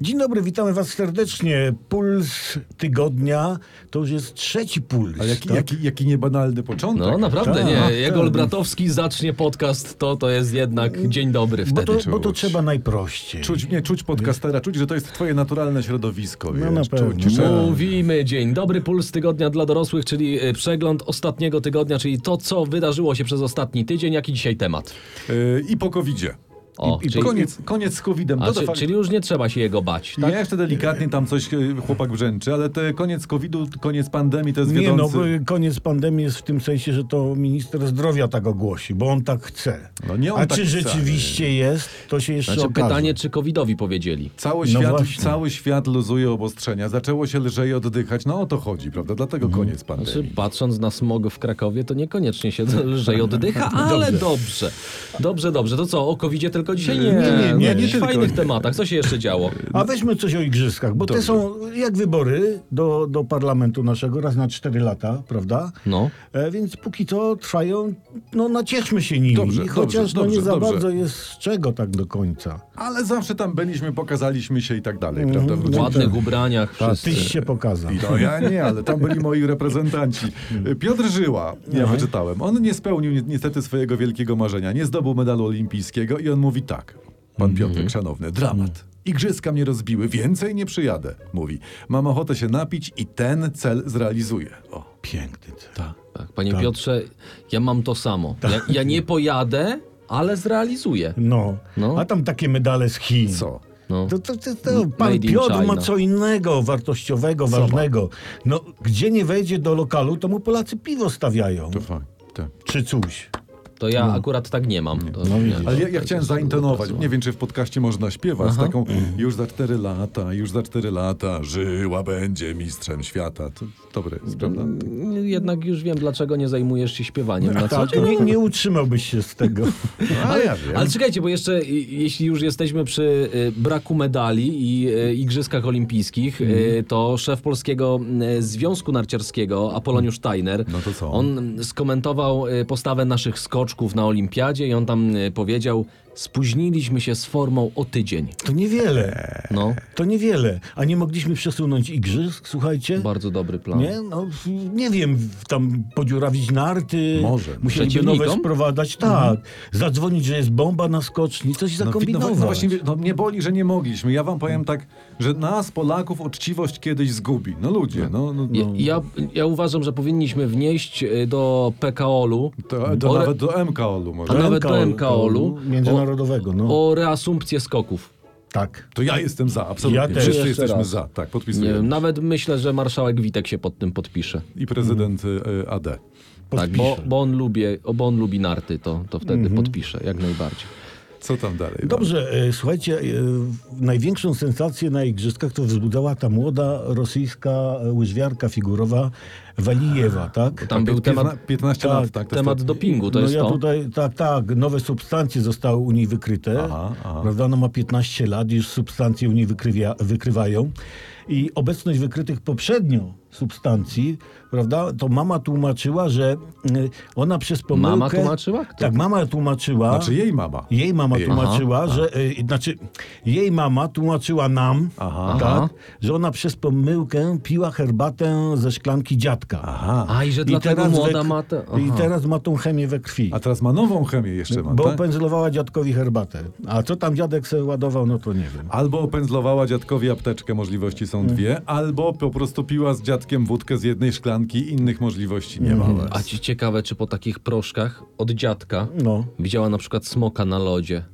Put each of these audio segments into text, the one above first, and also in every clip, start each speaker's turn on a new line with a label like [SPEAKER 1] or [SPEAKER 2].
[SPEAKER 1] Dzień dobry, witamy Was serdecznie. Puls tygodnia to już jest trzeci puls.
[SPEAKER 2] Ale jaki,
[SPEAKER 1] tak?
[SPEAKER 2] jaki, jaki niebanalny początek.
[SPEAKER 3] No naprawdę
[SPEAKER 2] Tak,
[SPEAKER 3] nie.
[SPEAKER 2] tak.
[SPEAKER 3] Jak Olbratowski zacznie podcast, to to jest jednak dzień dobry
[SPEAKER 1] bo,
[SPEAKER 3] wtedy.
[SPEAKER 1] to, bo to
[SPEAKER 2] czuć.
[SPEAKER 1] trzeba najprościej.
[SPEAKER 2] Czuć mnie, czuć podcastera, czuć, że to jest twoje naturalne środowisko, wiesz.
[SPEAKER 1] No, na pewno. no.
[SPEAKER 2] Czuć, że...
[SPEAKER 3] Mówimy dzień dobry puls tygodnia dla dorosłych, czyli y, przegląd ostatniego tygodnia, czyli to, co wydarzyło się przez ostatni tydzień, jaki dzisiaj temat.
[SPEAKER 2] Yy, I po covidzie.
[SPEAKER 3] O,
[SPEAKER 2] I, i
[SPEAKER 3] czyli,
[SPEAKER 2] koniec, koniec z covidem.
[SPEAKER 3] a,
[SPEAKER 2] No to
[SPEAKER 3] czy,
[SPEAKER 2] fakt- No,
[SPEAKER 3] czyli już nie trzeba się jego bać, tak?
[SPEAKER 2] Ja jeszcze delikatnie tam coś yy, chłopak brzęczy, ale te koniec covidu, koniec pandemii to jest
[SPEAKER 1] Nie no,
[SPEAKER 2] wiodący...
[SPEAKER 1] bo koniec pandemii jest w tym sensie, że to minister zdrowia tak ogłosi, bo on tak chce.
[SPEAKER 2] No nie on
[SPEAKER 1] A
[SPEAKER 2] tak
[SPEAKER 1] czy
[SPEAKER 2] chce.
[SPEAKER 1] rzeczywiście jest, to się jeszcze
[SPEAKER 3] Znaczy
[SPEAKER 1] okaże.
[SPEAKER 3] pytanie, czy covidowi powiedzieli.
[SPEAKER 2] Cały,
[SPEAKER 1] No
[SPEAKER 2] świat,
[SPEAKER 1] właśnie.
[SPEAKER 2] cały świat luzuje obostrzenia, zaczęło się lżej oddychać, no o to chodzi, prawda? Dlatego
[SPEAKER 1] Mhm.
[SPEAKER 2] koniec pandemii.
[SPEAKER 3] Znaczy, patrząc na smog w Krakowie, to niekoniecznie się lżej oddycha, ale dobrze. dobrze. Dobrze, To co, o covidzie tylko dzisiaj? Nie, nie,
[SPEAKER 2] nie, nie,
[SPEAKER 3] o jakichś
[SPEAKER 2] nie tylko.
[SPEAKER 3] fajnych tematach. Co się jeszcze działo?
[SPEAKER 1] A weźmy coś o igrzyskach, bo te
[SPEAKER 2] Dobrze.
[SPEAKER 1] są jak wybory do, do parlamentu naszego, raz na cztery lata, prawda?
[SPEAKER 3] No.
[SPEAKER 1] E, więc póki co trwają, no nacieszmy się nimi,
[SPEAKER 2] Dobrze,
[SPEAKER 1] chociaż
[SPEAKER 2] dobrze,
[SPEAKER 1] no, nie
[SPEAKER 2] dobrze,
[SPEAKER 1] za
[SPEAKER 2] dobrze.
[SPEAKER 1] bardzo jest z czego tak do końca.
[SPEAKER 2] Ale zawsze tam byliśmy, pokazaliśmy się i tak dalej,
[SPEAKER 1] Mhm.
[SPEAKER 2] prawda?
[SPEAKER 3] W
[SPEAKER 2] Wróciliśmy-
[SPEAKER 3] ładnych ubraniach wszyscy.
[SPEAKER 1] Tyś się pokazał.
[SPEAKER 2] I No ja nie, ale tam byli moi reprezentanci. Piotr Żyła, ja wyczytałem, on nie spełnił ni- niestety swojego wielkiego marzenia, nie zdobył medalu olimpijskiego i on mówi tak, pan Piotrek, szanowny, dramat. Igrzyska mnie rozbiły, więcej nie przyjadę, mówi. Mam ochotę się napić i ten cel zrealizuję. O.
[SPEAKER 1] Piękny. ty.
[SPEAKER 3] Tak, panie Piotrze, ja mam to samo. Ja, ja nie pojadę, ale zrealizuję.
[SPEAKER 1] No.
[SPEAKER 3] No.
[SPEAKER 1] a tam takie medale z Chin.
[SPEAKER 2] Co?
[SPEAKER 3] No.
[SPEAKER 1] To, to, to, to, pan
[SPEAKER 3] Made in
[SPEAKER 1] Piotr ma
[SPEAKER 3] China.
[SPEAKER 1] co innego wartościowego, ważnego. No, gdzie nie wejdzie do lokalu, to mu Polacy piwo stawiają.
[SPEAKER 2] To fajnie. Tak.
[SPEAKER 1] Czy coś.
[SPEAKER 3] To ja akurat tak nie mam. To,
[SPEAKER 1] No widzisz.
[SPEAKER 3] nie,
[SPEAKER 2] Ale
[SPEAKER 3] to-
[SPEAKER 2] ja, ja
[SPEAKER 3] to
[SPEAKER 2] chciałem
[SPEAKER 3] jest-
[SPEAKER 2] zaintonować. Nie wiem, czy w podcaście można śpiewać taką już za 4 lata, już za 4 lata żyła będzie mistrzem świata. To dobre jest, prawda?
[SPEAKER 3] Jednak już wiem, dlaczego nie zajmujesz się śpiewaniem No, na co
[SPEAKER 1] Tak,
[SPEAKER 3] dzień.
[SPEAKER 1] nie, nie utrzymałbyś się z tego.
[SPEAKER 2] Ale,
[SPEAKER 3] Ale czekajcie, bo jeszcze y, jeśli już jesteśmy przy y, braku medali i y, Igrzyskach Olimpijskich, y, to szef polskiego y, Związku Narciarskiego, Apoloniusz Steiner,
[SPEAKER 2] No to co?
[SPEAKER 3] on skomentował y, postawę naszych skoczków na Olimpiadzie i on tam y, powiedział, spóźniliśmy się z formą o tydzień.
[SPEAKER 1] To niewiele.
[SPEAKER 3] No,
[SPEAKER 1] To niewiele. A nie mogliśmy przesunąć igrzysk, słuchajcie?
[SPEAKER 3] bardzo dobry plan.
[SPEAKER 1] Nie, no, f- nie wiem, w- tam podziurawić narty.
[SPEAKER 2] Może.
[SPEAKER 1] Musieliby
[SPEAKER 3] Przeciwnikom?
[SPEAKER 1] nowe sprowadzać. Tak. Zadzwonić, że jest bomba na skoczni, coś
[SPEAKER 2] No, wi-
[SPEAKER 1] zakombinować.
[SPEAKER 2] No, no właśnie, no, mnie boli, że nie mogliśmy. Ja wam powiem tak, że nas, Polaków, uczciwość kiedyś zgubi. No ludzie, no... no,
[SPEAKER 3] Ja,
[SPEAKER 2] no.
[SPEAKER 3] ja, ja uważam, że powinniśmy wnieść y, do PKOL-u
[SPEAKER 2] To, to
[SPEAKER 3] Ore-
[SPEAKER 2] nawet do MKOL-u może.
[SPEAKER 3] A no- nawet do MKOL-u.
[SPEAKER 1] Międzynarodowego, no.
[SPEAKER 3] o reasumpcję skoków.
[SPEAKER 1] Tak.
[SPEAKER 2] To ja jestem za, absolutnie.
[SPEAKER 1] Ja też.
[SPEAKER 2] Wszyscy
[SPEAKER 3] Jeszcze
[SPEAKER 2] jesteśmy
[SPEAKER 3] raz.
[SPEAKER 2] za. Tak,
[SPEAKER 3] Nie no,
[SPEAKER 2] podpisuję.
[SPEAKER 3] wiem, nawet myślę, że marszałek Witek się pod tym podpisze.
[SPEAKER 2] I prezydent y, y, AD.
[SPEAKER 3] Tak,
[SPEAKER 1] Podpiszę.
[SPEAKER 3] bo, bo, on lubię, o, bo on lubi narty, to, to wtedy
[SPEAKER 1] Mhm.
[SPEAKER 3] podpisze, jak najbardziej.
[SPEAKER 2] Co tam dalej?
[SPEAKER 1] Dobrze, e, słuchajcie, e, w- największą sensację na igrzyskach to wzbudzała ta młoda rosyjska e, łyżwiarka figurowa Walijewa, tak?
[SPEAKER 3] Tam był
[SPEAKER 2] Piętna-
[SPEAKER 3] temat,
[SPEAKER 2] 15
[SPEAKER 1] tak,
[SPEAKER 2] lat, tak. to jest
[SPEAKER 3] temat
[SPEAKER 2] to-
[SPEAKER 3] dopingu, to
[SPEAKER 1] no
[SPEAKER 3] jest
[SPEAKER 1] ja
[SPEAKER 3] to.
[SPEAKER 1] tutaj, tak, tak, nowe substancje zostały u niej wykryte,
[SPEAKER 2] Aha, aha.
[SPEAKER 1] prawda, ona ma 15 lat, już substancje u niej wykrywia, wykrywają i obecność wykrytych poprzednio substancji, prawda, to mama tłumaczyła, że y, ona przez pomyłkę...
[SPEAKER 3] Mama tłumaczyła? Kto?
[SPEAKER 1] Tak, mama tłumaczyła.
[SPEAKER 2] Znaczy jej mama.
[SPEAKER 1] Jej mama
[SPEAKER 2] Jej-
[SPEAKER 1] tłumaczyła,
[SPEAKER 3] tak.
[SPEAKER 1] że y, znaczy jej mama tłumaczyła nam,
[SPEAKER 2] Aha.
[SPEAKER 3] Aha.
[SPEAKER 1] tak, że ona przez pomyłkę piła herbatę ze szklanki dziadka.
[SPEAKER 2] Aha.
[SPEAKER 3] A i że
[SPEAKER 1] I
[SPEAKER 3] dlatego
[SPEAKER 1] teraz we
[SPEAKER 3] młoda
[SPEAKER 1] k-
[SPEAKER 3] ma te...
[SPEAKER 1] I
[SPEAKER 3] Aha.
[SPEAKER 1] teraz ma tą chemię we krwi.
[SPEAKER 2] A teraz ma nową chemię jeszcze ma,
[SPEAKER 1] Bo
[SPEAKER 2] tak?
[SPEAKER 1] pędzlowała dziadkowi herbatę. A co tam dziadek se ładował, no to nie wiem.
[SPEAKER 2] Albo opędzlowała dziadkowi apteczkę, możliwości są
[SPEAKER 3] Mm.
[SPEAKER 2] dwie, albo po prostu piła z dziadkiem wódkę z jednej szklanki, innych możliwości nie ma.
[SPEAKER 3] A ci ciekawe, czy po takich proszkach od dziadka
[SPEAKER 1] No.
[SPEAKER 3] widziała na przykład smoka na lodzie.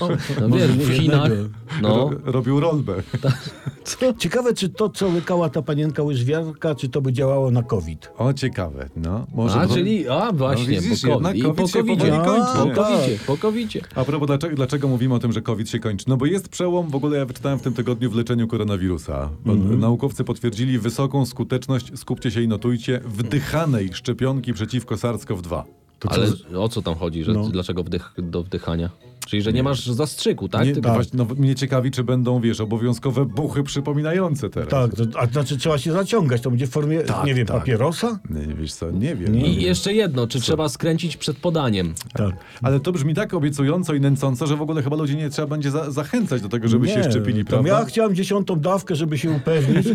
[SPEAKER 3] No, no
[SPEAKER 1] Może
[SPEAKER 3] wiesz,
[SPEAKER 1] nie
[SPEAKER 3] w Chinach.
[SPEAKER 1] jednego.
[SPEAKER 3] No,
[SPEAKER 2] Ro- Robił rolbę.
[SPEAKER 1] Ciekawe, czy to, co łykała ta panienka łyżwiarka, czy to by działało na COVID.
[SPEAKER 2] O, ciekawe, no. Może
[SPEAKER 3] a
[SPEAKER 2] to-
[SPEAKER 3] czyli, a właśnie,
[SPEAKER 2] widzisz,
[SPEAKER 3] po COVID,
[SPEAKER 2] jednak
[SPEAKER 3] i po
[SPEAKER 2] COVID się
[SPEAKER 3] COVID-zie,
[SPEAKER 2] powoli
[SPEAKER 3] po
[SPEAKER 2] kończy.
[SPEAKER 3] COVID-zie, po COVID-zie.
[SPEAKER 2] A propos, dlaczego, dlaczego mówimy o tym, że COVID się kończy? No bo jest przełom, w ogóle ja wyczytałem w tym tygodniu w leczeniu koronawirusa. Naukowcy potwierdzili wysoką skuteczność, skupcie się i notujcie, wdychanej szczepionki przeciwko SARS-CoV-2.
[SPEAKER 1] To co
[SPEAKER 3] Ale
[SPEAKER 1] z-
[SPEAKER 3] o co tam chodzi, że
[SPEAKER 1] No.
[SPEAKER 3] dlaczego wdych, do wdychania? Czyli, że nie masz zastrzyku, tak?
[SPEAKER 2] nie,
[SPEAKER 3] Tylko-
[SPEAKER 2] właśnie, no, mnie ciekawi, czy będą, wiesz, obowiązkowe buchy przypominające teraz.
[SPEAKER 1] Tak, to, a znaczy trzeba się zaciągać. To będzie w formie,
[SPEAKER 2] Tak,
[SPEAKER 1] nie wiem,
[SPEAKER 2] tak.
[SPEAKER 1] papierosa?
[SPEAKER 2] Nie, nie, wiesz co, nie wiem.
[SPEAKER 1] Nie.
[SPEAKER 2] No,
[SPEAKER 3] I jeszcze jedno, czy trzeba skręcić przed podaniem?
[SPEAKER 1] Tak.
[SPEAKER 2] Ale to brzmi tak obiecująco i nęcąco, że w ogóle chyba ludzi nie trzeba będzie za zachęcać do tego, żeby
[SPEAKER 1] nie,
[SPEAKER 2] się szczepili,
[SPEAKER 1] tam
[SPEAKER 2] prawda?
[SPEAKER 1] Ja chciałem dziesiątą dawkę, żeby się upewnić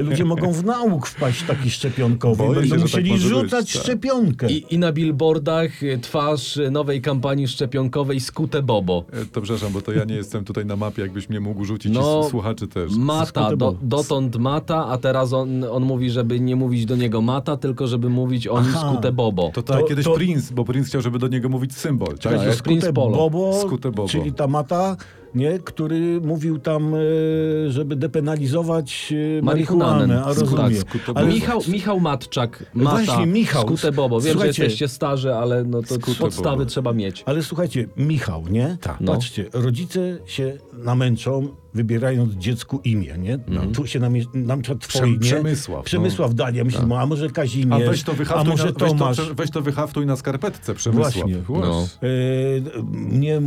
[SPEAKER 1] i ludzie mogą w nauk wpaść taki szczepionkowy.
[SPEAKER 2] Boję
[SPEAKER 1] Będą
[SPEAKER 2] się, że
[SPEAKER 1] musieli
[SPEAKER 2] tak może być,
[SPEAKER 1] rzucać
[SPEAKER 2] tak.
[SPEAKER 1] szczepionkę.
[SPEAKER 3] I, I na billboardach y, twarz y, nowej kampanii szczepionkowej Skute Bobo.
[SPEAKER 2] E, To przepraszam, bo to ja nie jestem tutaj na mapie, jakbyś mnie mógł rzucić
[SPEAKER 3] No,
[SPEAKER 2] i s- słuchaczy też.
[SPEAKER 3] Mata,
[SPEAKER 1] Skute
[SPEAKER 3] do,
[SPEAKER 1] Bobo.
[SPEAKER 3] dotąd Mata, a teraz on, on mówi, żeby nie mówić do niego Mata, tylko żeby mówić o nim
[SPEAKER 1] Aha.
[SPEAKER 3] Skute Bobo.
[SPEAKER 2] To tak,
[SPEAKER 1] To-
[SPEAKER 2] kiedyś
[SPEAKER 1] to-
[SPEAKER 2] Prince, bo Prince chciał, żeby do niego mówić symbol. Tak?
[SPEAKER 1] Czyli
[SPEAKER 3] jak
[SPEAKER 1] no, skute
[SPEAKER 3] Prince Polo.
[SPEAKER 1] Bobo,
[SPEAKER 2] Skute Bobo.
[SPEAKER 1] czyli ta mata, nie, który mówił tam, e, żeby depenalizować e,
[SPEAKER 3] Marihuanę.
[SPEAKER 1] marihuanę. A
[SPEAKER 3] Skute-
[SPEAKER 1] rozumiem.
[SPEAKER 2] tak, skute
[SPEAKER 1] Ale
[SPEAKER 2] Bobo.
[SPEAKER 1] Michał,
[SPEAKER 3] Michał, Michał Matczak, Mata,
[SPEAKER 1] Właśnie, Michał.
[SPEAKER 3] Skute Bobo. Wiem,
[SPEAKER 1] Słuchajcie.
[SPEAKER 3] że jesteście starzy, ale no to
[SPEAKER 2] Skute
[SPEAKER 3] podstawy
[SPEAKER 2] Bobo.
[SPEAKER 3] trzeba mieć.
[SPEAKER 1] ale słuchajcie, Michał, nie?
[SPEAKER 2] Tak.
[SPEAKER 3] No.
[SPEAKER 1] Patrzcie, rodzice się namęczą, wybierając dziecku imię, nie? No, Tu się nam, nam przykład twoje
[SPEAKER 2] Mhm.
[SPEAKER 1] imię.
[SPEAKER 2] Przem- Przemysław, no.
[SPEAKER 1] Przemysław Dania. Myślimy, a może
[SPEAKER 2] A
[SPEAKER 1] Kazimierz,
[SPEAKER 2] weź to,
[SPEAKER 1] a
[SPEAKER 2] wyhaftuj
[SPEAKER 1] może
[SPEAKER 2] na, weź, to,
[SPEAKER 1] Tomasz.
[SPEAKER 2] prze- weź to wyhaftuj na skarpetce, Przemysław.
[SPEAKER 1] Właśnie.
[SPEAKER 3] No.
[SPEAKER 2] Łaś.
[SPEAKER 1] Yy, Mnie m,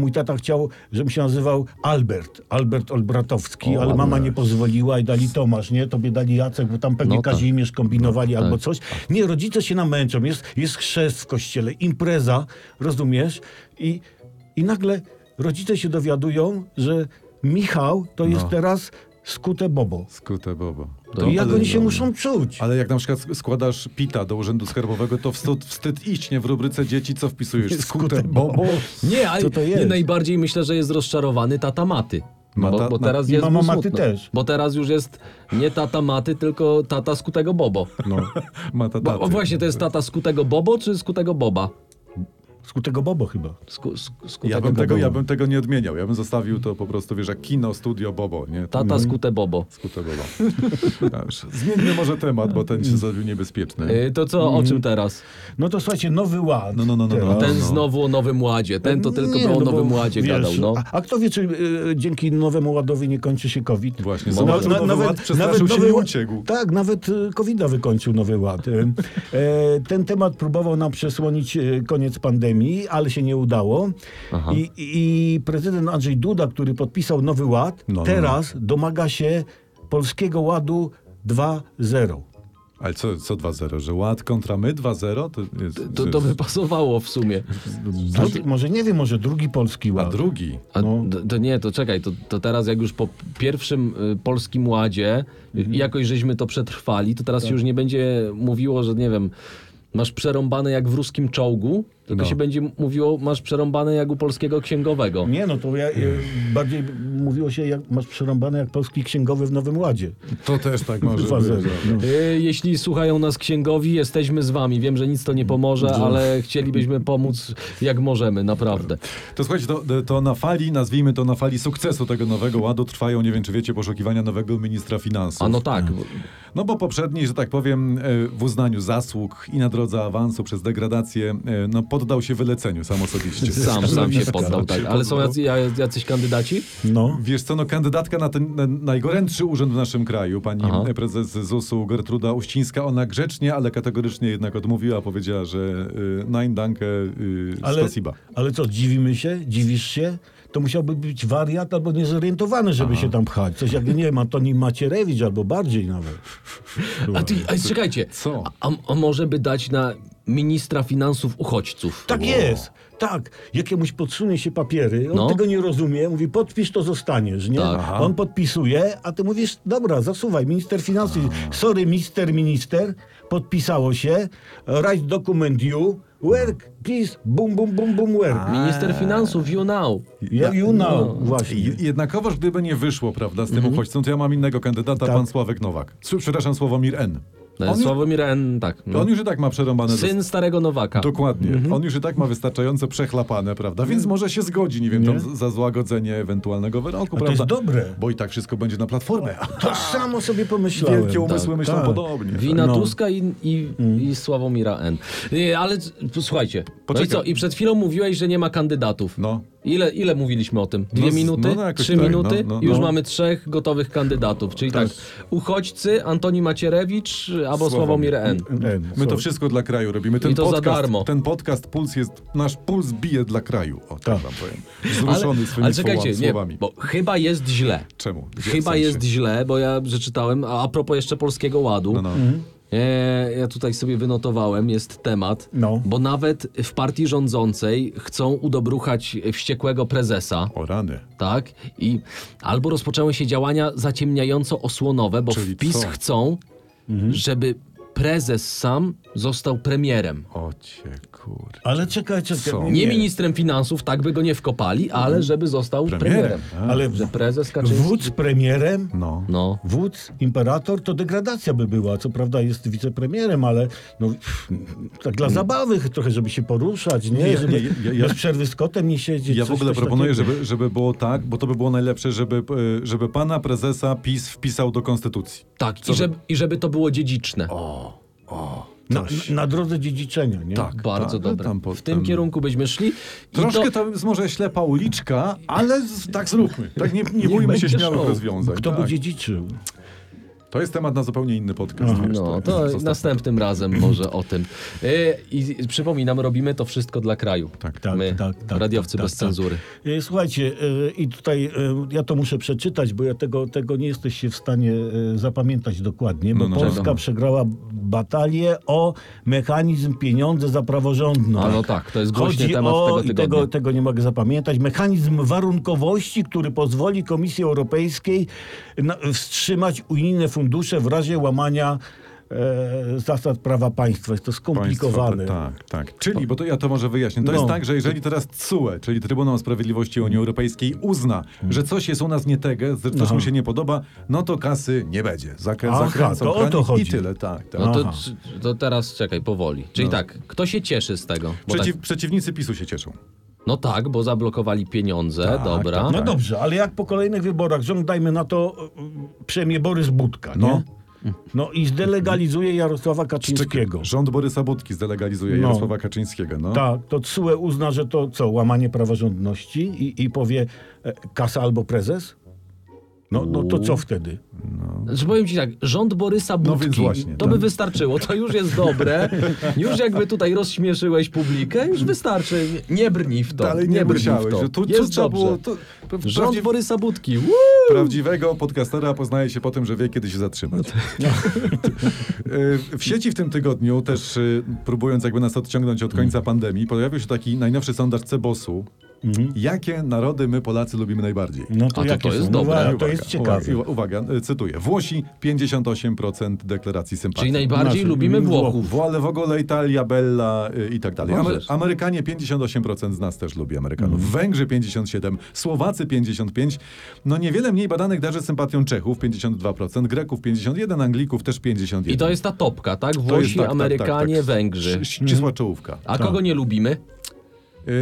[SPEAKER 1] mój tata chciał, żebym się nazywał Albert, Albert Olbratowski, ale mama nie pozwoliła i dali Tomasz, nie? Tobie dali Jacek, bo tam pewnie
[SPEAKER 3] No tak.
[SPEAKER 1] Kazimierz
[SPEAKER 2] No
[SPEAKER 1] kombinowali albo
[SPEAKER 2] tak.
[SPEAKER 1] coś. Nie, rodzice się namęczą, jest, jest chrzest w kościele, impreza, rozumiesz? I, i nagle rodzice się dowiadują, że Michał to
[SPEAKER 2] No.
[SPEAKER 1] jest teraz skute bobo.
[SPEAKER 2] Skute Bobo.
[SPEAKER 1] To
[SPEAKER 3] No,
[SPEAKER 1] jak
[SPEAKER 3] ale-
[SPEAKER 1] oni się muszą czuć?
[SPEAKER 2] Ale jak na przykład sk- składasz pita do urzędu skarbowego, to wstyd, wstyd iść, nie? W rubryce dzieci co wpisujesz? Skute
[SPEAKER 1] Skute
[SPEAKER 2] Bobo.
[SPEAKER 3] Nie, ale
[SPEAKER 1] Co to jest?
[SPEAKER 3] nie najbardziej myślę, że jest rozczarowany tata Maty. No
[SPEAKER 2] Mata-
[SPEAKER 3] bo, bo teraz
[SPEAKER 1] ma-
[SPEAKER 3] jest
[SPEAKER 1] mama
[SPEAKER 3] mu
[SPEAKER 1] Maty
[SPEAKER 3] smutno.
[SPEAKER 1] też.
[SPEAKER 3] Bo teraz już jest nie tata Maty, tylko tata skutego Bobo.
[SPEAKER 1] No.
[SPEAKER 2] Ma ta
[SPEAKER 3] Bo, o, właśnie to jest tata skutego Bobo czy skutego Boba?
[SPEAKER 1] Skutego bobo chyba.
[SPEAKER 3] Sku, sk- skutego
[SPEAKER 2] Ja bym, tego,
[SPEAKER 3] Bobo.
[SPEAKER 2] ja bym tego nie odmieniał. Ja bym zostawił to po prostu, wiesz, jak kino, studio, bobo, nie?
[SPEAKER 1] Mm.
[SPEAKER 3] Tata skute Bobo.
[SPEAKER 2] Skute bobo. Dobrze. Zmieńmy może temat, bo ten się zrobił niebezpieczny.
[SPEAKER 3] Y, To co,
[SPEAKER 1] Mm.
[SPEAKER 3] o czym teraz?
[SPEAKER 1] No to słuchajcie, nowy ład.
[SPEAKER 2] No, no, no, no, no.
[SPEAKER 1] teraz.
[SPEAKER 3] Ten znowu o Nowym Ładzie. Ten to tylko
[SPEAKER 1] Nie,
[SPEAKER 3] był o
[SPEAKER 1] no bo,
[SPEAKER 3] Nowym Ładzie
[SPEAKER 1] wiesz,
[SPEAKER 3] gadał, no.
[SPEAKER 1] A, a kto wie, czy y, dzięki Nowemu Ładowi nie kończy się COVID?
[SPEAKER 2] Właśnie, zobaczył Nowy Ład, przestraszył się i uciekł.
[SPEAKER 1] Tak, nawet y, COVID-a wykończył Nowy Ład. Y, e, ten temat próbował nam przesłonić y, koniec pandemii, ale się nie udało.
[SPEAKER 3] Aha.
[SPEAKER 1] I, I prezydent Andrzej Duda, który podpisał Nowy Ład,
[SPEAKER 2] No, no, no.
[SPEAKER 1] teraz domaga się Polskiego Ładu 2.0.
[SPEAKER 2] Ale co, co 2-0? Że ład kontra my 2-0? To, jest,
[SPEAKER 3] To, to by pasowało w sumie.
[SPEAKER 1] Drugi, Znaczy, może nie wiem, może drugi Polski
[SPEAKER 2] A
[SPEAKER 1] Ład.
[SPEAKER 2] drugi?
[SPEAKER 3] A
[SPEAKER 1] No.
[SPEAKER 3] d- to nie, to czekaj, to, to teraz jak już po p- pierwszym y, polskim ładzie y, jakoś żeśmy to przetrwali, to teraz się już nie będzie mówiło, że nie wiem, masz przerąbane jak w ruskim czołgu, tylko
[SPEAKER 2] No.
[SPEAKER 3] się będzie m- mówiło, masz przerąbane jak u polskiego księgowego.
[SPEAKER 1] Nie, no to ja, y, bardziej mówiło się, jak masz przerąbane jak polski księgowy w Nowym Ładzie.
[SPEAKER 2] To też tak może
[SPEAKER 1] Dwa zero,
[SPEAKER 2] być.
[SPEAKER 1] no.
[SPEAKER 3] Y, Jeśli słuchają nas księgowi, jesteśmy z wami. Wiem, że nic to nie pomoże, ale chcielibyśmy pomóc jak możemy, naprawdę.
[SPEAKER 2] To słuchajcie, to, to na fali, nazwijmy to na fali sukcesu tego nowego ładu trwają, nie wiem czy wiecie, poszukiwania nowego ministra finansów.
[SPEAKER 3] A no tak,
[SPEAKER 2] No bo poprzedni, że tak powiem, e, w uznaniu zasług i na drodze awansu przez degradację, e, no poddał się wyleceniu sam osobiście.
[SPEAKER 3] sam, sam się
[SPEAKER 1] Sam
[SPEAKER 3] poddał.
[SPEAKER 2] się
[SPEAKER 3] Tak. Ale są
[SPEAKER 2] poddał.
[SPEAKER 3] jacy, jacyś kandydaci?
[SPEAKER 1] No.
[SPEAKER 2] Wiesz co, no kandydatka na ten na najgorętszy urząd w naszym kraju, pani
[SPEAKER 3] Aha.
[SPEAKER 2] prezes ZUS-u Gertruda Uścińska, ona grzecznie, ale kategorycznie jednak odmówiła, powiedziała, że y, nein danke, y,
[SPEAKER 1] Ale,
[SPEAKER 2] spasiba.
[SPEAKER 1] ale co, dziwimy się? Dziwisz się? To musiałby być wariat albo niezorientowany, żeby się tam pchać. Coś jak, nie wiem, Antoni Macierewicz albo bardziej nawet.
[SPEAKER 3] A ty, a, czekajcie,
[SPEAKER 2] Co?
[SPEAKER 3] A, a może by dać na ministra finansów uchodźców?
[SPEAKER 1] Tak jest, tak. Jakiemuś podsunie się papiery, on
[SPEAKER 3] No.
[SPEAKER 1] tego nie rozumie, mówi podpisz, to zostaniesz, nie?
[SPEAKER 3] Tak.
[SPEAKER 2] Aha.
[SPEAKER 1] On podpisuje, a ty mówisz, dobra, zasuwaj, minister finansów, sorry, mister, minister, podpisało się, write document you, work, please, bum, bum, bum, bum, work.
[SPEAKER 3] Minister No. finansów, you now.
[SPEAKER 1] Ja, you know, właśnie.
[SPEAKER 2] I- Jednakowoż gdyby nie wyszło, prawda, z tym
[SPEAKER 3] Mhm.
[SPEAKER 2] uchodźcą, to ja mam innego kandydata,
[SPEAKER 1] Tak.
[SPEAKER 2] pan Sławek Nowak. Su- Przepraszam, Sławomir N. On już,
[SPEAKER 3] No, Sławomir N, tak. No.
[SPEAKER 2] on już i tak ma przerąbane ze-
[SPEAKER 3] Syn Mhm. starego Nowaka.
[SPEAKER 2] Dokładnie. On już i tak ma wystarczająco przechlapane, prawda? Więc może się zgodzi, nie wiem, tam z- za złagodzenie ewentualnego wyroku,
[SPEAKER 1] A to
[SPEAKER 2] prawda?
[SPEAKER 1] jest dobre. Tak.
[SPEAKER 2] Bo i tak wszystko będzie na platformę.
[SPEAKER 1] To samo sobie pomyślałem.
[SPEAKER 2] Wielkie umysły
[SPEAKER 1] Tak,
[SPEAKER 2] myślą
[SPEAKER 1] tak.
[SPEAKER 2] podobnie.
[SPEAKER 3] Wina
[SPEAKER 1] No.
[SPEAKER 3] Tuska i, i,
[SPEAKER 2] Mm.
[SPEAKER 3] i Sławomira N. Nie, ale c- słuchajcie, no i
[SPEAKER 2] Poczekaj.
[SPEAKER 3] co? I przed chwilą mówiłeś, że nie ma kandydatów.
[SPEAKER 2] No.
[SPEAKER 3] Ile, ile mówiliśmy o tym? Dwie
[SPEAKER 2] No z-
[SPEAKER 3] minuty?
[SPEAKER 2] no jakoś
[SPEAKER 3] Trzy
[SPEAKER 2] tak,
[SPEAKER 3] minuty?
[SPEAKER 2] no, no,
[SPEAKER 3] Już
[SPEAKER 2] no.
[SPEAKER 3] mamy trzech gotowych kandydatów. Czyli tak,
[SPEAKER 2] Tak.
[SPEAKER 3] uchodźcy, Antoni Macierewicz albo
[SPEAKER 2] Sławomir
[SPEAKER 3] Sławomir N.
[SPEAKER 1] E,
[SPEAKER 2] My to wszystko dla kraju robimy. Ten
[SPEAKER 3] I to za
[SPEAKER 2] podcast,
[SPEAKER 3] darmo.
[SPEAKER 2] Ten podcast Puls jest, nasz puls bije dla kraju. O, tak wam powiem.
[SPEAKER 3] Ale,
[SPEAKER 2] Wzruszony swoimi
[SPEAKER 3] ale czekajcie,
[SPEAKER 2] słowa-
[SPEAKER 3] nie,
[SPEAKER 2] słowami.
[SPEAKER 3] bo chyba jest źle.
[SPEAKER 2] Czemu? Gdzie w
[SPEAKER 3] Chyba
[SPEAKER 2] sensie?
[SPEAKER 3] jest źle, bo ja przeczytałem, a a propos jeszcze Polskiego Ładu,
[SPEAKER 2] No, no.
[SPEAKER 1] Mhm.
[SPEAKER 3] E, ja tutaj sobie wynotowałem, jest temat,
[SPEAKER 1] No.
[SPEAKER 3] bo nawet w partii rządzącej chcą udobruchać wściekłego prezesa.
[SPEAKER 2] O rany.
[SPEAKER 3] Tak? I albo rozpoczęły się działania zaciemniająco-osłonowe, bo
[SPEAKER 2] Czyli
[SPEAKER 3] wpis
[SPEAKER 2] co? Mhm.
[SPEAKER 3] chcą, żeby prezes sam został premierem.
[SPEAKER 2] O cię kur...
[SPEAKER 1] Ale czekaj, czekaj.
[SPEAKER 2] Co?
[SPEAKER 3] Nie, ministrem finansów, tak by go nie wkopali, ale żeby został premierem.
[SPEAKER 2] Mm. Premierem. Tak.
[SPEAKER 1] Ale
[SPEAKER 3] Że prezes Kaczyński...
[SPEAKER 1] wódz premierem,
[SPEAKER 2] No.
[SPEAKER 3] No.
[SPEAKER 1] wódz, imperator, to degradacja by była. Co prawda jest wicepremierem, ale no, pff, tak dla zabawy trochę, żeby się poruszać, nie?
[SPEAKER 2] Mm. ja-
[SPEAKER 1] żeby
[SPEAKER 2] ja- ja- ja-
[SPEAKER 1] bez przerwy z kotem nie siedzieć.
[SPEAKER 2] Ja w
[SPEAKER 1] coś-
[SPEAKER 2] ogóle
[SPEAKER 1] coś
[SPEAKER 2] proponuję,
[SPEAKER 1] takiego.
[SPEAKER 2] żeby, żeby było tak, bo to by było najlepsze, żeby, e, żeby pana prezesa PiS wpisał do konstytucji.
[SPEAKER 3] Tak, i żeby, i żeby to było dziedziczne.
[SPEAKER 1] Na, na drodze dziedziczenia, nie?
[SPEAKER 2] Tak.
[SPEAKER 3] Bardzo
[SPEAKER 2] tak, no
[SPEAKER 3] dobre.
[SPEAKER 2] tam po-
[SPEAKER 3] w tym
[SPEAKER 2] tam-
[SPEAKER 3] kierunku byśmy szli. I
[SPEAKER 2] Troszkę
[SPEAKER 3] to-
[SPEAKER 2] to... jest może ślepa uliczka, ale z, tak zróbmy. Tak nie, nie
[SPEAKER 3] Niech
[SPEAKER 2] bójmy
[SPEAKER 3] będzie
[SPEAKER 2] się śmiałych
[SPEAKER 3] show.
[SPEAKER 2] rozwiązań.
[SPEAKER 1] Kto by
[SPEAKER 2] tak.
[SPEAKER 1] dziedziczył?
[SPEAKER 2] To jest temat na zupełnie inny podcast. wiesz,
[SPEAKER 3] No,
[SPEAKER 2] jest
[SPEAKER 3] to
[SPEAKER 2] zostaw-
[SPEAKER 3] następnym razem może o tym. Y, I przypominam, robimy to wszystko dla kraju.
[SPEAKER 2] Tak.
[SPEAKER 1] Tak,
[SPEAKER 3] My,
[SPEAKER 1] tak, tak,
[SPEAKER 3] radiowcy
[SPEAKER 1] tak,
[SPEAKER 3] bez
[SPEAKER 1] tak.
[SPEAKER 3] cenzury.
[SPEAKER 1] E, Słuchajcie, e, i tutaj e, ja to muszę przeczytać, bo ja tego, tego nie jesteście w stanie e, zapamiętać dokładnie, bo
[SPEAKER 2] No, no,
[SPEAKER 1] Polska
[SPEAKER 2] wiadomo.
[SPEAKER 1] przegrała batalię o mechanizm pieniądze za praworządność.
[SPEAKER 3] A no tak, to jest głośny
[SPEAKER 1] Chodzi
[SPEAKER 3] temat
[SPEAKER 1] o,
[SPEAKER 3] tego
[SPEAKER 1] i
[SPEAKER 3] tygodnia.
[SPEAKER 1] Tego, tego nie mogę zapamiętać. Mechanizm warunkowości, który pozwoli Komisji Europejskiej na, wstrzymać unijne fundusze w razie łamania e, zasad prawa państwa. Jest to
[SPEAKER 2] Państwo,
[SPEAKER 1] skomplikowane.
[SPEAKER 2] Tak, tak. Czyli, bo to ja to może wyjaśnię. To
[SPEAKER 1] No.
[SPEAKER 2] jest tak, że jeżeli teraz CUE, czyli Trybunał Sprawiedliwości Unii Europejskiej uzna, że coś jest u nas nie tego, że coś mu się nie podoba, no to kasy nie będzie. Zakrę-
[SPEAKER 1] Aha,
[SPEAKER 2] zakręcą
[SPEAKER 1] to o to
[SPEAKER 2] kranik
[SPEAKER 1] chodzi.
[SPEAKER 2] i tyle, tak. tak.
[SPEAKER 3] No to,
[SPEAKER 1] Aha.
[SPEAKER 3] to teraz czekaj, powoli. Czyli tak, kto się cieszy z tego? Bo
[SPEAKER 2] No. Przeciw,
[SPEAKER 3] tak,
[SPEAKER 2] Przeciwnicy PiSu się cieszą.
[SPEAKER 3] no tak, bo zablokowali pieniądze,
[SPEAKER 2] Tak,
[SPEAKER 3] dobra.
[SPEAKER 2] tak,
[SPEAKER 1] No
[SPEAKER 2] tak.
[SPEAKER 1] dobrze, ale jak po kolejnych wyborach rząd, dajmy na to, y, przejmie Borys Budka,
[SPEAKER 2] No.
[SPEAKER 1] nie? No i zdelegalizuje Jarosława Kaczyńskiego.
[SPEAKER 2] Rząd Borysa Budki zdelegalizuje
[SPEAKER 1] No.
[SPEAKER 2] Jarosława Kaczyńskiego. No.
[SPEAKER 1] Tak, to CUE uzna, że to co, łamanie praworządności i, i powie e, kasa albo prezes? No, no to co wtedy?
[SPEAKER 3] Że powiem ci tak, rząd Borysa Budki,
[SPEAKER 2] No więc właśnie,
[SPEAKER 3] to by wystarczyło, to już jest dobre. Już jakby tutaj rozśmieszyłeś publikę, już wystarczy. Nie brnij w to.
[SPEAKER 2] Dalej nie,
[SPEAKER 3] brnij
[SPEAKER 2] musiałeś.
[SPEAKER 3] w to.
[SPEAKER 2] że Tu, tu
[SPEAKER 3] jest
[SPEAKER 2] trzeba
[SPEAKER 3] dobrze.
[SPEAKER 2] było... To,
[SPEAKER 3] Rząd
[SPEAKER 2] prawdziw,
[SPEAKER 3] Borysa Budki. Woo!
[SPEAKER 2] prawdziwego podcastera poznaje się po tym, że wie, kiedy się zatrzymać.
[SPEAKER 1] No.
[SPEAKER 2] Y, W sieci w tym tygodniu też, y, próbując jakby nas odciągnąć od
[SPEAKER 1] Mm.
[SPEAKER 2] końca pandemii, pojawił się taki najnowszy sondaż Cebosu.
[SPEAKER 1] Mhm.
[SPEAKER 2] Jakie narody my Polacy lubimy najbardziej?
[SPEAKER 1] No to,
[SPEAKER 3] A to-
[SPEAKER 1] jakie
[SPEAKER 3] to jest
[SPEAKER 1] są?
[SPEAKER 3] dobre.
[SPEAKER 1] No, a to
[SPEAKER 2] Uwaga,
[SPEAKER 1] jest ciekawe.
[SPEAKER 2] Uwaga, uwaga, y, cytuję. Włosi 58% deklaracji sympatii.
[SPEAKER 3] Czyli najbardziej
[SPEAKER 1] Znaczy,
[SPEAKER 3] lubimy Włochów.
[SPEAKER 2] Wło- Ale w ogóle Italia, Bella y, i tak dalej. Amer-
[SPEAKER 3] Możesz. Mhm.
[SPEAKER 2] Amerykanie 58% z nas też lubi Amerykanów. Węgrzy 57%, Słowacy 55%. No niewiele mniej badanych darzy sympatią Czechów 52%, Greków 51%, Anglików też 51%.
[SPEAKER 3] I to jest ta topka, tak?
[SPEAKER 2] To jest
[SPEAKER 3] Włosi,
[SPEAKER 2] tak, tak,
[SPEAKER 3] Amerykanie,
[SPEAKER 2] tak, tak.
[SPEAKER 3] Węgrzy.
[SPEAKER 2] Ś- Ścisła czołówka.
[SPEAKER 3] A kogo nie lubimy?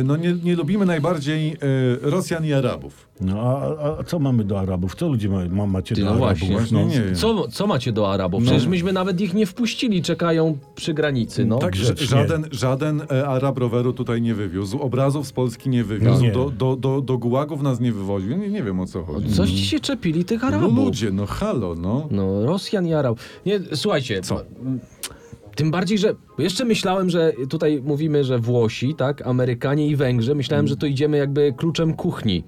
[SPEAKER 2] Y, No nie, nie lubimy najbardziej y, Rosjan i Arabów.
[SPEAKER 1] No a, a- a co mamy do Arabów? Co ludzie ma, ma, macie
[SPEAKER 3] Ty,
[SPEAKER 1] do
[SPEAKER 3] no
[SPEAKER 1] Arabów?
[SPEAKER 3] właśnie.
[SPEAKER 2] Właśnie nie No. wiem.
[SPEAKER 3] Co, co macie do Arabów? Przecież myśmy nawet ich nie wpuścili, czekają przy granicy. No.
[SPEAKER 2] tak, że
[SPEAKER 1] grzecznie.
[SPEAKER 2] żaden, żaden e, Arab roweru tutaj nie wywiózł, obrazów z Polski
[SPEAKER 3] No
[SPEAKER 2] nie wywiózł,
[SPEAKER 1] Nie.
[SPEAKER 2] Do, do, do, do gułagów nas nie wywoził. Nie, nie wiem o co chodzi.
[SPEAKER 3] Coś ci się czepili tych
[SPEAKER 2] No
[SPEAKER 3] Arabów.
[SPEAKER 2] ludzie, no halo, no.
[SPEAKER 3] No, Rosjan i Arab. Nie, słuchajcie.
[SPEAKER 2] Co?
[SPEAKER 3] m, Tym bardziej, że jeszcze myślałem, że tutaj mówimy, że Włosi, tak, Amerykanie i Węgrzy, myślałem, że to idziemy jakby kluczem kuchni.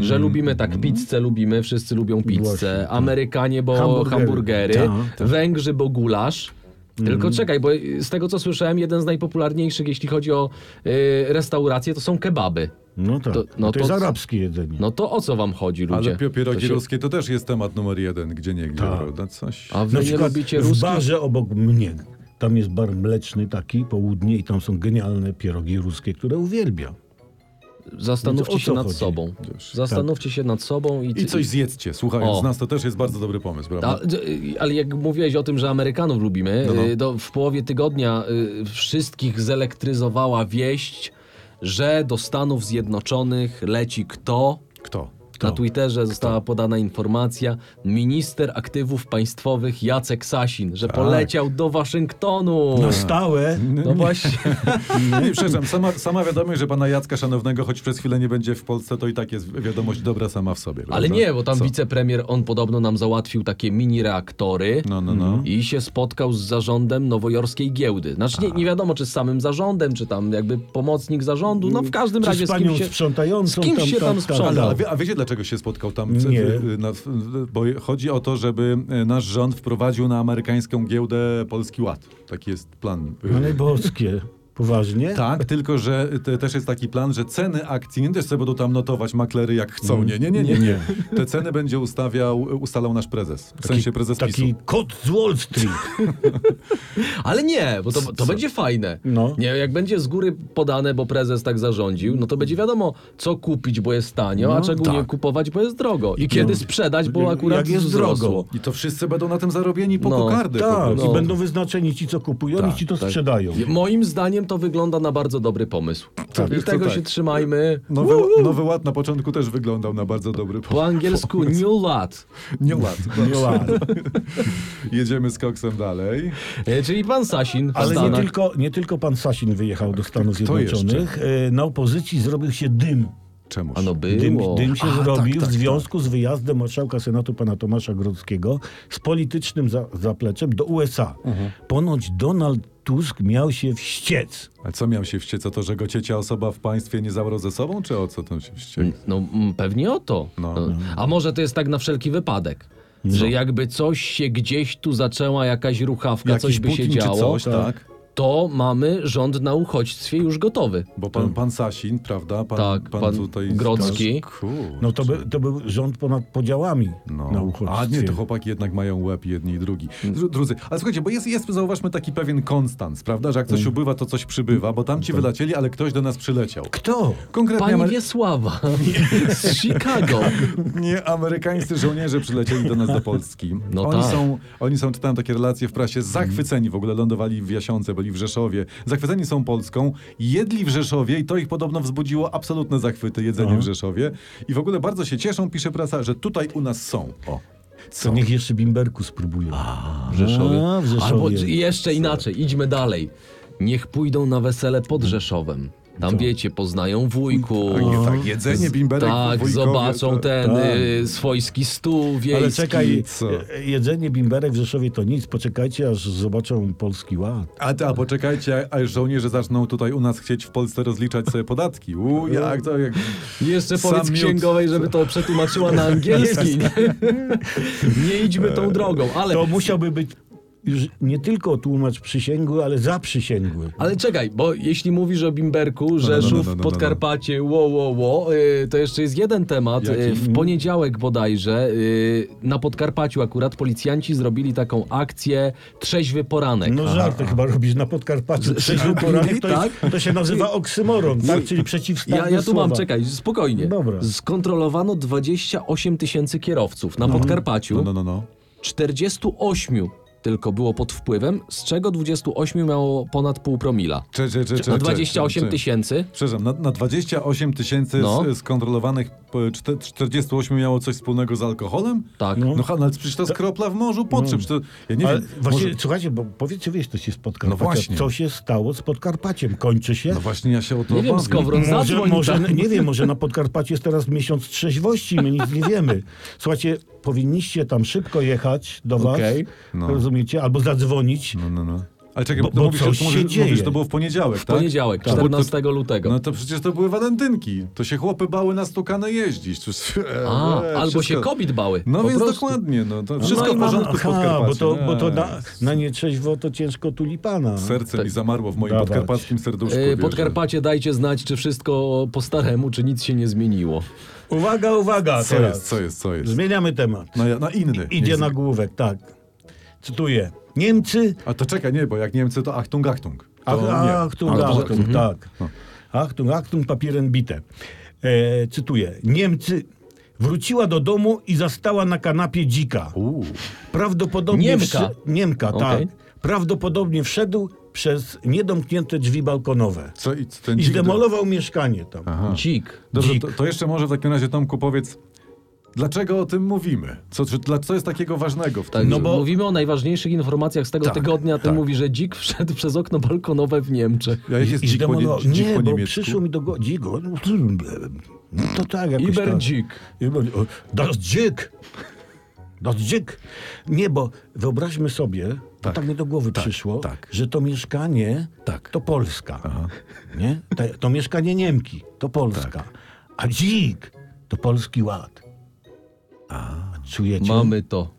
[SPEAKER 3] Że lubimy tak, pizzę lubimy, wszyscy lubią pizzę.
[SPEAKER 1] Właśnie, Mm. tak.
[SPEAKER 3] Amerykanie, bo hamburgery,
[SPEAKER 1] Hamburgery. Tak, Mm.
[SPEAKER 3] Węgrzy, bo gulasz. Tylko czekaj, bo z tego co słyszałem, jeden z najpopularniejszych, jeśli chodzi o y, restauracje, to są kebaby.
[SPEAKER 1] No tak,
[SPEAKER 3] To-
[SPEAKER 1] to,
[SPEAKER 3] no
[SPEAKER 1] to jest
[SPEAKER 3] to-
[SPEAKER 1] arabskie jedzenie.
[SPEAKER 3] No to o co wam chodzi, ludzie?
[SPEAKER 2] Ale pi- pierogi
[SPEAKER 3] To się-
[SPEAKER 2] ruskie to też jest temat numer jeden, gdzie nie gdzie,
[SPEAKER 1] Tak.
[SPEAKER 2] prawda? Coś.
[SPEAKER 3] A
[SPEAKER 1] Na
[SPEAKER 3] wy nie
[SPEAKER 1] przykład
[SPEAKER 3] lubicie
[SPEAKER 1] w
[SPEAKER 3] ruskich?
[SPEAKER 1] barze obok mnie, tam jest bar mleczny taki, południe i tam są genialne pierogi ruskie, które uwielbiam.
[SPEAKER 3] Zastanówcie
[SPEAKER 1] Więc o
[SPEAKER 3] się
[SPEAKER 1] co
[SPEAKER 3] nad
[SPEAKER 1] chodzi? tak.
[SPEAKER 3] sobą.
[SPEAKER 2] Wiesz,
[SPEAKER 3] Zastanówcie się nad sobą i,
[SPEAKER 2] I coś zjedzcie, słuchając
[SPEAKER 3] O.
[SPEAKER 2] nas, to też jest bardzo dobry pomysł, prawda?
[SPEAKER 3] A, d- ale jak mówiłeś o tym, że Amerykanów lubimy,
[SPEAKER 2] No, no.
[SPEAKER 3] y, to w połowie tygodnia y, wszystkich zelektryzowała wieść, że do Stanów Zjednoczonych leci kto?
[SPEAKER 2] Kto?
[SPEAKER 1] Kto?
[SPEAKER 3] Na Twitterze została podana informacja minister aktywów państwowych Jacek Sasin,
[SPEAKER 2] Tak.
[SPEAKER 3] że poleciał do Waszyngtonu.
[SPEAKER 1] Na stałe.
[SPEAKER 3] No właśnie.
[SPEAKER 2] Nie, No przepraszam, sama, sama wiadomość, że pana Jacka Szanownego, choć przez chwilę nie będzie w Polsce, to i tak jest wiadomość dobra sama w sobie.
[SPEAKER 3] Ale
[SPEAKER 2] prawda?
[SPEAKER 3] nie, bo tam
[SPEAKER 2] Co?
[SPEAKER 3] wicepremier, on podobno nam załatwił takie mini reaktory.
[SPEAKER 2] No, no, no.
[SPEAKER 3] I się spotkał z zarządem nowojorskiej giełdy. Znaczy nie, nie wiadomo, czy z samym zarządem, czy tam jakby pomocnik zarządu. No w każdym
[SPEAKER 1] Czy
[SPEAKER 3] razie
[SPEAKER 1] z
[SPEAKER 3] z kim
[SPEAKER 1] panią
[SPEAKER 3] się...
[SPEAKER 1] sprzątającą.
[SPEAKER 3] z kimś się tam
[SPEAKER 2] Ale,
[SPEAKER 3] sprząta.
[SPEAKER 2] ale wie, a wiecie, dlaczego się spotkał tam? w-
[SPEAKER 1] Nie.
[SPEAKER 2] w- Na, w- bo chodzi o to, żeby e, nasz rząd wprowadził na amerykańską giełdę Polski Ład. Taki jest plan. e,
[SPEAKER 1] Panie boskie, poważnie?
[SPEAKER 2] Tak, tylko że te, też jest taki plan, że ceny akcji nie też sobie będą tam notować maklery jak chcą. Nie, nie, nie, nie. nie. Te ceny będzie ustawiał, ustalał nasz prezes. W sensie prezes
[SPEAKER 1] Taki
[SPEAKER 2] PiSu.
[SPEAKER 1] kot z Wall Street.
[SPEAKER 3] Ale nie, bo to, to będzie fajne.
[SPEAKER 1] No.
[SPEAKER 3] Nie, jak będzie z góry podane, bo prezes tak zarządził, no to będzie wiadomo, co kupić, bo jest tanio, a czego nie kupować, bo jest drogo. I kiedy sprzedać, bo akurat
[SPEAKER 1] Jak jest
[SPEAKER 3] wzrosło.
[SPEAKER 1] drogo.
[SPEAKER 2] I to wszyscy bęą na tym zarobieni po
[SPEAKER 3] No,
[SPEAKER 2] kokardy. po
[SPEAKER 1] Tak,
[SPEAKER 2] prostu.
[SPEAKER 1] i
[SPEAKER 3] No. Tak,
[SPEAKER 1] będą wyznaczeni ci, co kupują i ci to sprzedają.
[SPEAKER 3] Moim zdaniem to wygląda na bardzo dobry pomysł.
[SPEAKER 2] Tak,
[SPEAKER 3] I tego
[SPEAKER 2] tak. No,
[SPEAKER 3] się trzymajmy.
[SPEAKER 2] Nowy, nowy Ład na początku też wyglądał na bardzo dobry
[SPEAKER 3] Po
[SPEAKER 2] pomysł.
[SPEAKER 3] angielsku New Lat.
[SPEAKER 2] Nie Ład.
[SPEAKER 1] Nie No ładnie.
[SPEAKER 2] Jedziemy z koksem dalej.
[SPEAKER 3] E, Czyli pan Sasin w
[SPEAKER 1] Ale nie
[SPEAKER 3] Stanach. Tak,
[SPEAKER 1] tylko, nie tylko pan Sasin wyjechał do Stanów
[SPEAKER 2] kto jeszcze?
[SPEAKER 1] Zjednoczonych. E, Na opozycji zrobił się dym.
[SPEAKER 2] Czemuż?
[SPEAKER 3] A no
[SPEAKER 1] Dym,
[SPEAKER 3] było.
[SPEAKER 1] dym się
[SPEAKER 2] A,
[SPEAKER 1] zrobił
[SPEAKER 2] tak, tak,
[SPEAKER 1] w związku z wyjazdem marszałka Senatu pana Tomasza Grodzkiego z politycznym za, zapleczem do USA. Ponoć Donald Tusk miał się wściec.
[SPEAKER 2] A co miał się wściec? O to, że go ciecia osoba w państwie nie zabrał ze sobą? Czy o co tam się wściekł?
[SPEAKER 3] No mm, pewnie o to.
[SPEAKER 2] No,
[SPEAKER 3] No. A może to jest tak na wszelki wypadek. Że jakby coś się gdzieś tu zaczęła, jakaś ruchawka, coś by się
[SPEAKER 2] Putin
[SPEAKER 3] działo,
[SPEAKER 2] czy coś, tak?
[SPEAKER 3] to mamy rząd na uchodźstwie już gotowy.
[SPEAKER 2] Bo pan, pan Sasin, prawda? Pan,
[SPEAKER 3] Tak, pan Grodzki.
[SPEAKER 2] Kurczę.
[SPEAKER 1] No to, by, to był rząd ponad podziałami
[SPEAKER 2] No.
[SPEAKER 1] na
[SPEAKER 2] A
[SPEAKER 1] uchodźstwie. Mm.
[SPEAKER 2] nie, to chłopaki jednak mają łeb jedni i drugi. Dru- Drudzy, ale słuchajcie, bo jest, jest, zauważmy, taki pewien konstans, prawda? Że jak
[SPEAKER 1] Mm.
[SPEAKER 2] coś ubywa, to coś przybywa, bo tam ci
[SPEAKER 1] Tak.
[SPEAKER 2] wylecieli, ale ktoś do nas przyleciał.
[SPEAKER 1] Kto?
[SPEAKER 2] Konkretnie
[SPEAKER 3] Pani
[SPEAKER 2] Amery-
[SPEAKER 3] Wiesława z Chicago.
[SPEAKER 2] nie amerykańscy żołnierze przylecieli do nas do Polski.
[SPEAKER 3] No
[SPEAKER 2] oni,
[SPEAKER 3] tak.
[SPEAKER 2] są, oni są, czytałem takie relacje w prasie, zachwyceni w ogóle, lądowali w Jasiące, byli w Rzeszowie. Zachwyceni są Polską, jedli w Rzeszowie i to ich podobno wzbudziło absolutne zachwyty, jedzenie w Rzeszowie. I w ogóle bardzo się cieszą, pisze prasa, że tutaj u nas są. O.
[SPEAKER 1] To niech jeszcze Bimberku spróbują.
[SPEAKER 3] W Rzeszowie.
[SPEAKER 1] A, w Rzeszowie.
[SPEAKER 3] Albo czy- jeszcze inaczej, idźmy dalej. Niech pójdą na wesele pod Rzeszowem. Tam wiecie, poznają wujku.
[SPEAKER 2] Tak, tak, jedzenie bimberek
[SPEAKER 3] tak,
[SPEAKER 2] wujkowie,
[SPEAKER 3] zobaczą
[SPEAKER 2] to-
[SPEAKER 3] ten
[SPEAKER 1] tak.
[SPEAKER 3] y, swojski stół wiejski.
[SPEAKER 1] Ale czekaj,
[SPEAKER 2] co?
[SPEAKER 1] e, jedzenie bimberek w Rzeszowie to nic. Poczekajcie, aż zobaczą Polski Ład.
[SPEAKER 2] A, a poczekajcie, aż żołnierze zaczną tutaj u nas chcieć w Polsce rozliczać sobie podatki. U, jak to, jak...
[SPEAKER 3] Jeszcze
[SPEAKER 2] Sam
[SPEAKER 3] powiedz
[SPEAKER 2] miód.
[SPEAKER 3] księgowej, żeby to przetłumaczyła na angielski. Nie, nie idźmy tą drogą, ale...
[SPEAKER 1] To musiałby być już nie tylko tłumacz przysięgły, ale zaprzysięgły.
[SPEAKER 3] Ale czekaj, bo jeśli mówisz o Bimberku, Rzeszów,
[SPEAKER 2] no, no, no, no.
[SPEAKER 3] Podkarpacie, wo, wo, wo, y, to jeszcze jest jeden temat.
[SPEAKER 2] Jaki? Mm.
[SPEAKER 3] Y, W poniedziałek bodajże y, na Podkarpaciu akurat policjanci zrobili taką akcję Trzeźwy Poranek.
[SPEAKER 1] No żarty chyba robisz na Podkarpaciu. Trzeźwy poranek to, jest,
[SPEAKER 2] Tak.
[SPEAKER 1] to się nazywa oksymoron, tak? Czyli przeciwstawne
[SPEAKER 3] Ja, ja tu mam,
[SPEAKER 1] słowa.
[SPEAKER 3] czekaj, spokojnie.
[SPEAKER 1] Dobra.
[SPEAKER 3] Skontrolowano 28 tysięcy kierowców na Podkarpaciu.
[SPEAKER 2] No, no, no, no.
[SPEAKER 3] 48 tylko było pod wpływem, z czego 28 miało ponad pół promila.
[SPEAKER 2] Cze, cze, cze, cze,
[SPEAKER 3] Na
[SPEAKER 2] cze,
[SPEAKER 3] 28
[SPEAKER 2] cze.
[SPEAKER 3] tysięcy.
[SPEAKER 2] Przepraszam, na, na 28 tysięcy
[SPEAKER 3] No.
[SPEAKER 2] z- skontrolowanych po- czte- 48 miało coś wspólnego z alkoholem?
[SPEAKER 3] Tak. No.
[SPEAKER 2] No, ha- no ale przecież to jest kropla w morzu, po czym? Czy to, ja nie
[SPEAKER 1] Ale
[SPEAKER 2] wiem,
[SPEAKER 1] właśnie,
[SPEAKER 2] może,
[SPEAKER 1] słuchajcie, bo powiedzcie, wiesz, to się z
[SPEAKER 2] No
[SPEAKER 1] Podkarpacia.
[SPEAKER 2] właśnie.
[SPEAKER 1] Co się stało z Podkarpaciem? Kończy się?
[SPEAKER 2] no właśnie ja się o to
[SPEAKER 3] Nie wiem,
[SPEAKER 2] obawiam.
[SPEAKER 3] Skowron,
[SPEAKER 1] Może,
[SPEAKER 3] zadzwoń
[SPEAKER 1] może,
[SPEAKER 3] tam.
[SPEAKER 1] nie wiem, może na Podkarpacie jest teraz miesiąc trzeźwości i my nic nie wiemy. Słuchajcie, powinniście tam szybko jechać do was,
[SPEAKER 3] Okej.
[SPEAKER 2] No.
[SPEAKER 1] rozumiecie? Albo zadzwonić.
[SPEAKER 2] No, no, no. Ale czekaj,
[SPEAKER 1] Bo-
[SPEAKER 2] bo, to
[SPEAKER 1] bo
[SPEAKER 2] mówisz,
[SPEAKER 1] coś
[SPEAKER 2] to
[SPEAKER 1] się
[SPEAKER 2] mówisz,
[SPEAKER 1] dzieje.
[SPEAKER 2] mówisz, to było w poniedziałek, tak?
[SPEAKER 3] Poniedziałek,
[SPEAKER 2] No, bo to-
[SPEAKER 3] 14 lutego.
[SPEAKER 2] No to przecież to były walentynki. To się chłopy bały na stukane jeździć. Przecież, e,
[SPEAKER 3] A,
[SPEAKER 2] e,
[SPEAKER 3] albo
[SPEAKER 2] wszystko-
[SPEAKER 3] się kobiet bały.
[SPEAKER 2] No
[SPEAKER 3] po
[SPEAKER 2] więc
[SPEAKER 3] prostu.
[SPEAKER 2] dokładnie, no to wszystko
[SPEAKER 1] No i
[SPEAKER 2] w
[SPEAKER 1] mam-
[SPEAKER 2] porządku
[SPEAKER 1] aha,
[SPEAKER 2] aha,
[SPEAKER 1] bo to, bo to na, na nietrzeźwo to ciężko tulipana.
[SPEAKER 2] Serce mi zamarło w moim
[SPEAKER 1] Dawać.
[SPEAKER 2] podkarpackim serduszku.
[SPEAKER 3] E,
[SPEAKER 2] wiesz,
[SPEAKER 3] Podkarpacie, dajcie znać, czy wszystko po staremu, czy nic się nie zmieniło.
[SPEAKER 1] Uwaga, uwaga
[SPEAKER 2] Co
[SPEAKER 1] teraz.
[SPEAKER 2] jest, co jest, co jest?
[SPEAKER 1] Zmieniamy temat.
[SPEAKER 2] No, ja- no inny.
[SPEAKER 1] Idzie
[SPEAKER 2] Niech-
[SPEAKER 1] na główek, tak. Cytuję. Niemcy,
[SPEAKER 2] A to czekaj, nie, bo jak Niemcy to Achtung, Achtung. To Mhm.
[SPEAKER 1] ach,
[SPEAKER 2] nie.
[SPEAKER 1] Achtung,
[SPEAKER 2] Albo-
[SPEAKER 1] Achtung, tak. Achtung, Achtung, papieren bite. E, cytuję. Niemcy wróciła do domu i zastała na kanapie dzika.
[SPEAKER 2] Uuu.
[SPEAKER 1] Prawdopodobnie
[SPEAKER 3] Niemka.
[SPEAKER 1] wszy- Niemka,
[SPEAKER 3] Okej.
[SPEAKER 1] tak. Prawdopodobnie wszedł przez niedomknięte drzwi balkonowe
[SPEAKER 2] Co i co ten
[SPEAKER 1] i
[SPEAKER 2] dzik do-
[SPEAKER 1] zdemolował mieszkanie tam.
[SPEAKER 2] Aha.
[SPEAKER 3] Dzik.
[SPEAKER 2] Dobrze,
[SPEAKER 1] dzik.
[SPEAKER 2] to, to jeszcze może w takim razie Tomku powiedz, Dlaczego o tym mówimy? Co, czy, dla, co jest takiego ważnego w tym?
[SPEAKER 3] Tak,
[SPEAKER 1] No
[SPEAKER 3] no
[SPEAKER 1] bo-
[SPEAKER 3] bo... Mówimy o najważniejszych informacjach z tego
[SPEAKER 2] Tak,
[SPEAKER 3] tygodnia. Ty
[SPEAKER 2] tak.
[SPEAKER 3] mówi, że dzik wszedł przez okno balkonowe w Niemczech.
[SPEAKER 2] Ja, jak jest
[SPEAKER 1] I
[SPEAKER 2] dzik po, nie,
[SPEAKER 1] zdemono-
[SPEAKER 2] dzik po
[SPEAKER 1] nie, bo
[SPEAKER 2] niemiecku?
[SPEAKER 1] przyszło mi do głowy. Dzik, o, no to tak, jakoś tak.
[SPEAKER 3] Iberdzik.
[SPEAKER 1] Iber- o, Das Dzik! Das Dzik! Nie, bo wyobraźmy sobie, to
[SPEAKER 2] Tak.
[SPEAKER 1] tak mi do głowy przyszło,
[SPEAKER 2] tak.
[SPEAKER 1] że to mieszkanie
[SPEAKER 2] Tak.
[SPEAKER 1] to Polska. Nie? Te, to mieszkanie Niemki to Polska. A dzik to Polski Ład. A, czujecie?
[SPEAKER 3] Mamy to.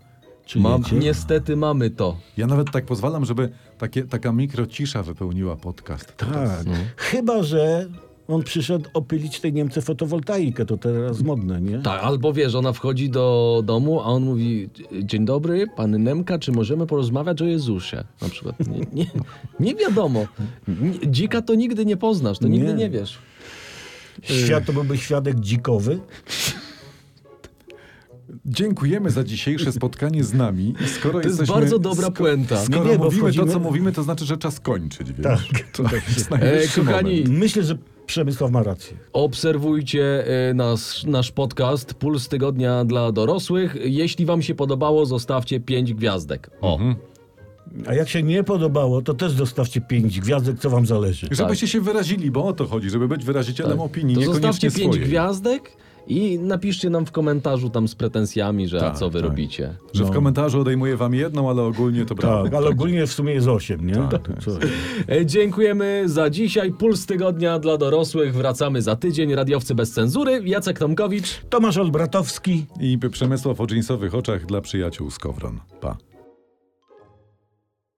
[SPEAKER 1] czujecie?
[SPEAKER 3] Niestety mamy to.
[SPEAKER 2] Ja nawet tak pozwalam, żeby takie, taka mikrocisza wypełniła podcast.
[SPEAKER 1] Tak. Chyba, że on przyszedł opylić tej Niemce fotowoltaikę, to teraz modne, nie?
[SPEAKER 3] Tak, albo wiesz, ona wchodzi do domu, a on mówi: Dzień dobry, pan Nemka, czy możemy porozmawiać o Jezusie? Na przykład. Nie, nie, nie wiadomo. Nie- Dzika to nigdy nie poznasz, to nigdy
[SPEAKER 1] Nie.
[SPEAKER 3] nie wiesz.
[SPEAKER 1] Świat to byłby świadek dzikowy.
[SPEAKER 2] Dziękujemy za dzisiejsze spotkanie z nami. I skoro
[SPEAKER 3] To jest
[SPEAKER 2] jesteśmy,
[SPEAKER 3] bardzo dobra
[SPEAKER 2] sko-
[SPEAKER 3] puenta.
[SPEAKER 2] Skoro
[SPEAKER 1] Nie, nie, bo
[SPEAKER 2] mówimy to, co
[SPEAKER 1] wchodzimy-
[SPEAKER 2] mówimy, to znaczy, że czas kończyć. Więc
[SPEAKER 1] Tak.
[SPEAKER 2] To jest
[SPEAKER 3] E,
[SPEAKER 2] najwyższy
[SPEAKER 3] kochani,
[SPEAKER 2] moment.
[SPEAKER 1] Myślę, że Przemysław ma rację.
[SPEAKER 3] Obserwujcie y, nas, nasz podcast Puls Tygodnia dla Dorosłych. Jeśli Wam się podobało, zostawcie 5 gwiazdek. O.
[SPEAKER 2] Mhm.
[SPEAKER 1] A jak się nie podobało, to też dostawcie pięć gwiazdek, co wam zależy.
[SPEAKER 2] Żebyście się wyrazili, bo o to chodzi, żeby być wyrazicielem
[SPEAKER 1] Tak.
[SPEAKER 2] opinii,
[SPEAKER 3] to
[SPEAKER 2] niekoniecznie
[SPEAKER 3] zostawcie 5
[SPEAKER 2] swojej.
[SPEAKER 3] gwiazdek i napiszcie nam w komentarzu tam z pretensjami, że a
[SPEAKER 2] Tak,
[SPEAKER 3] co wy
[SPEAKER 2] tak.
[SPEAKER 3] robicie.
[SPEAKER 2] Że w
[SPEAKER 1] No.
[SPEAKER 2] komentarzu odejmuję wam jedną, ale ogólnie to
[SPEAKER 1] Tak,
[SPEAKER 2] prawda.
[SPEAKER 1] ale ogólnie w sumie jest osiem, nie?
[SPEAKER 2] Tak,
[SPEAKER 1] To co?
[SPEAKER 3] E, Dziękujemy za dzisiaj. Puls Tygodnia dla Dorosłych. Wracamy za tydzień. Radiowcy bez cenzury. Jacek Tomkowicz.
[SPEAKER 1] Tomasz Olbratowski.
[SPEAKER 2] I Przemysław o dżinsowych oczach dla przyjaciół z Kowron. Pa.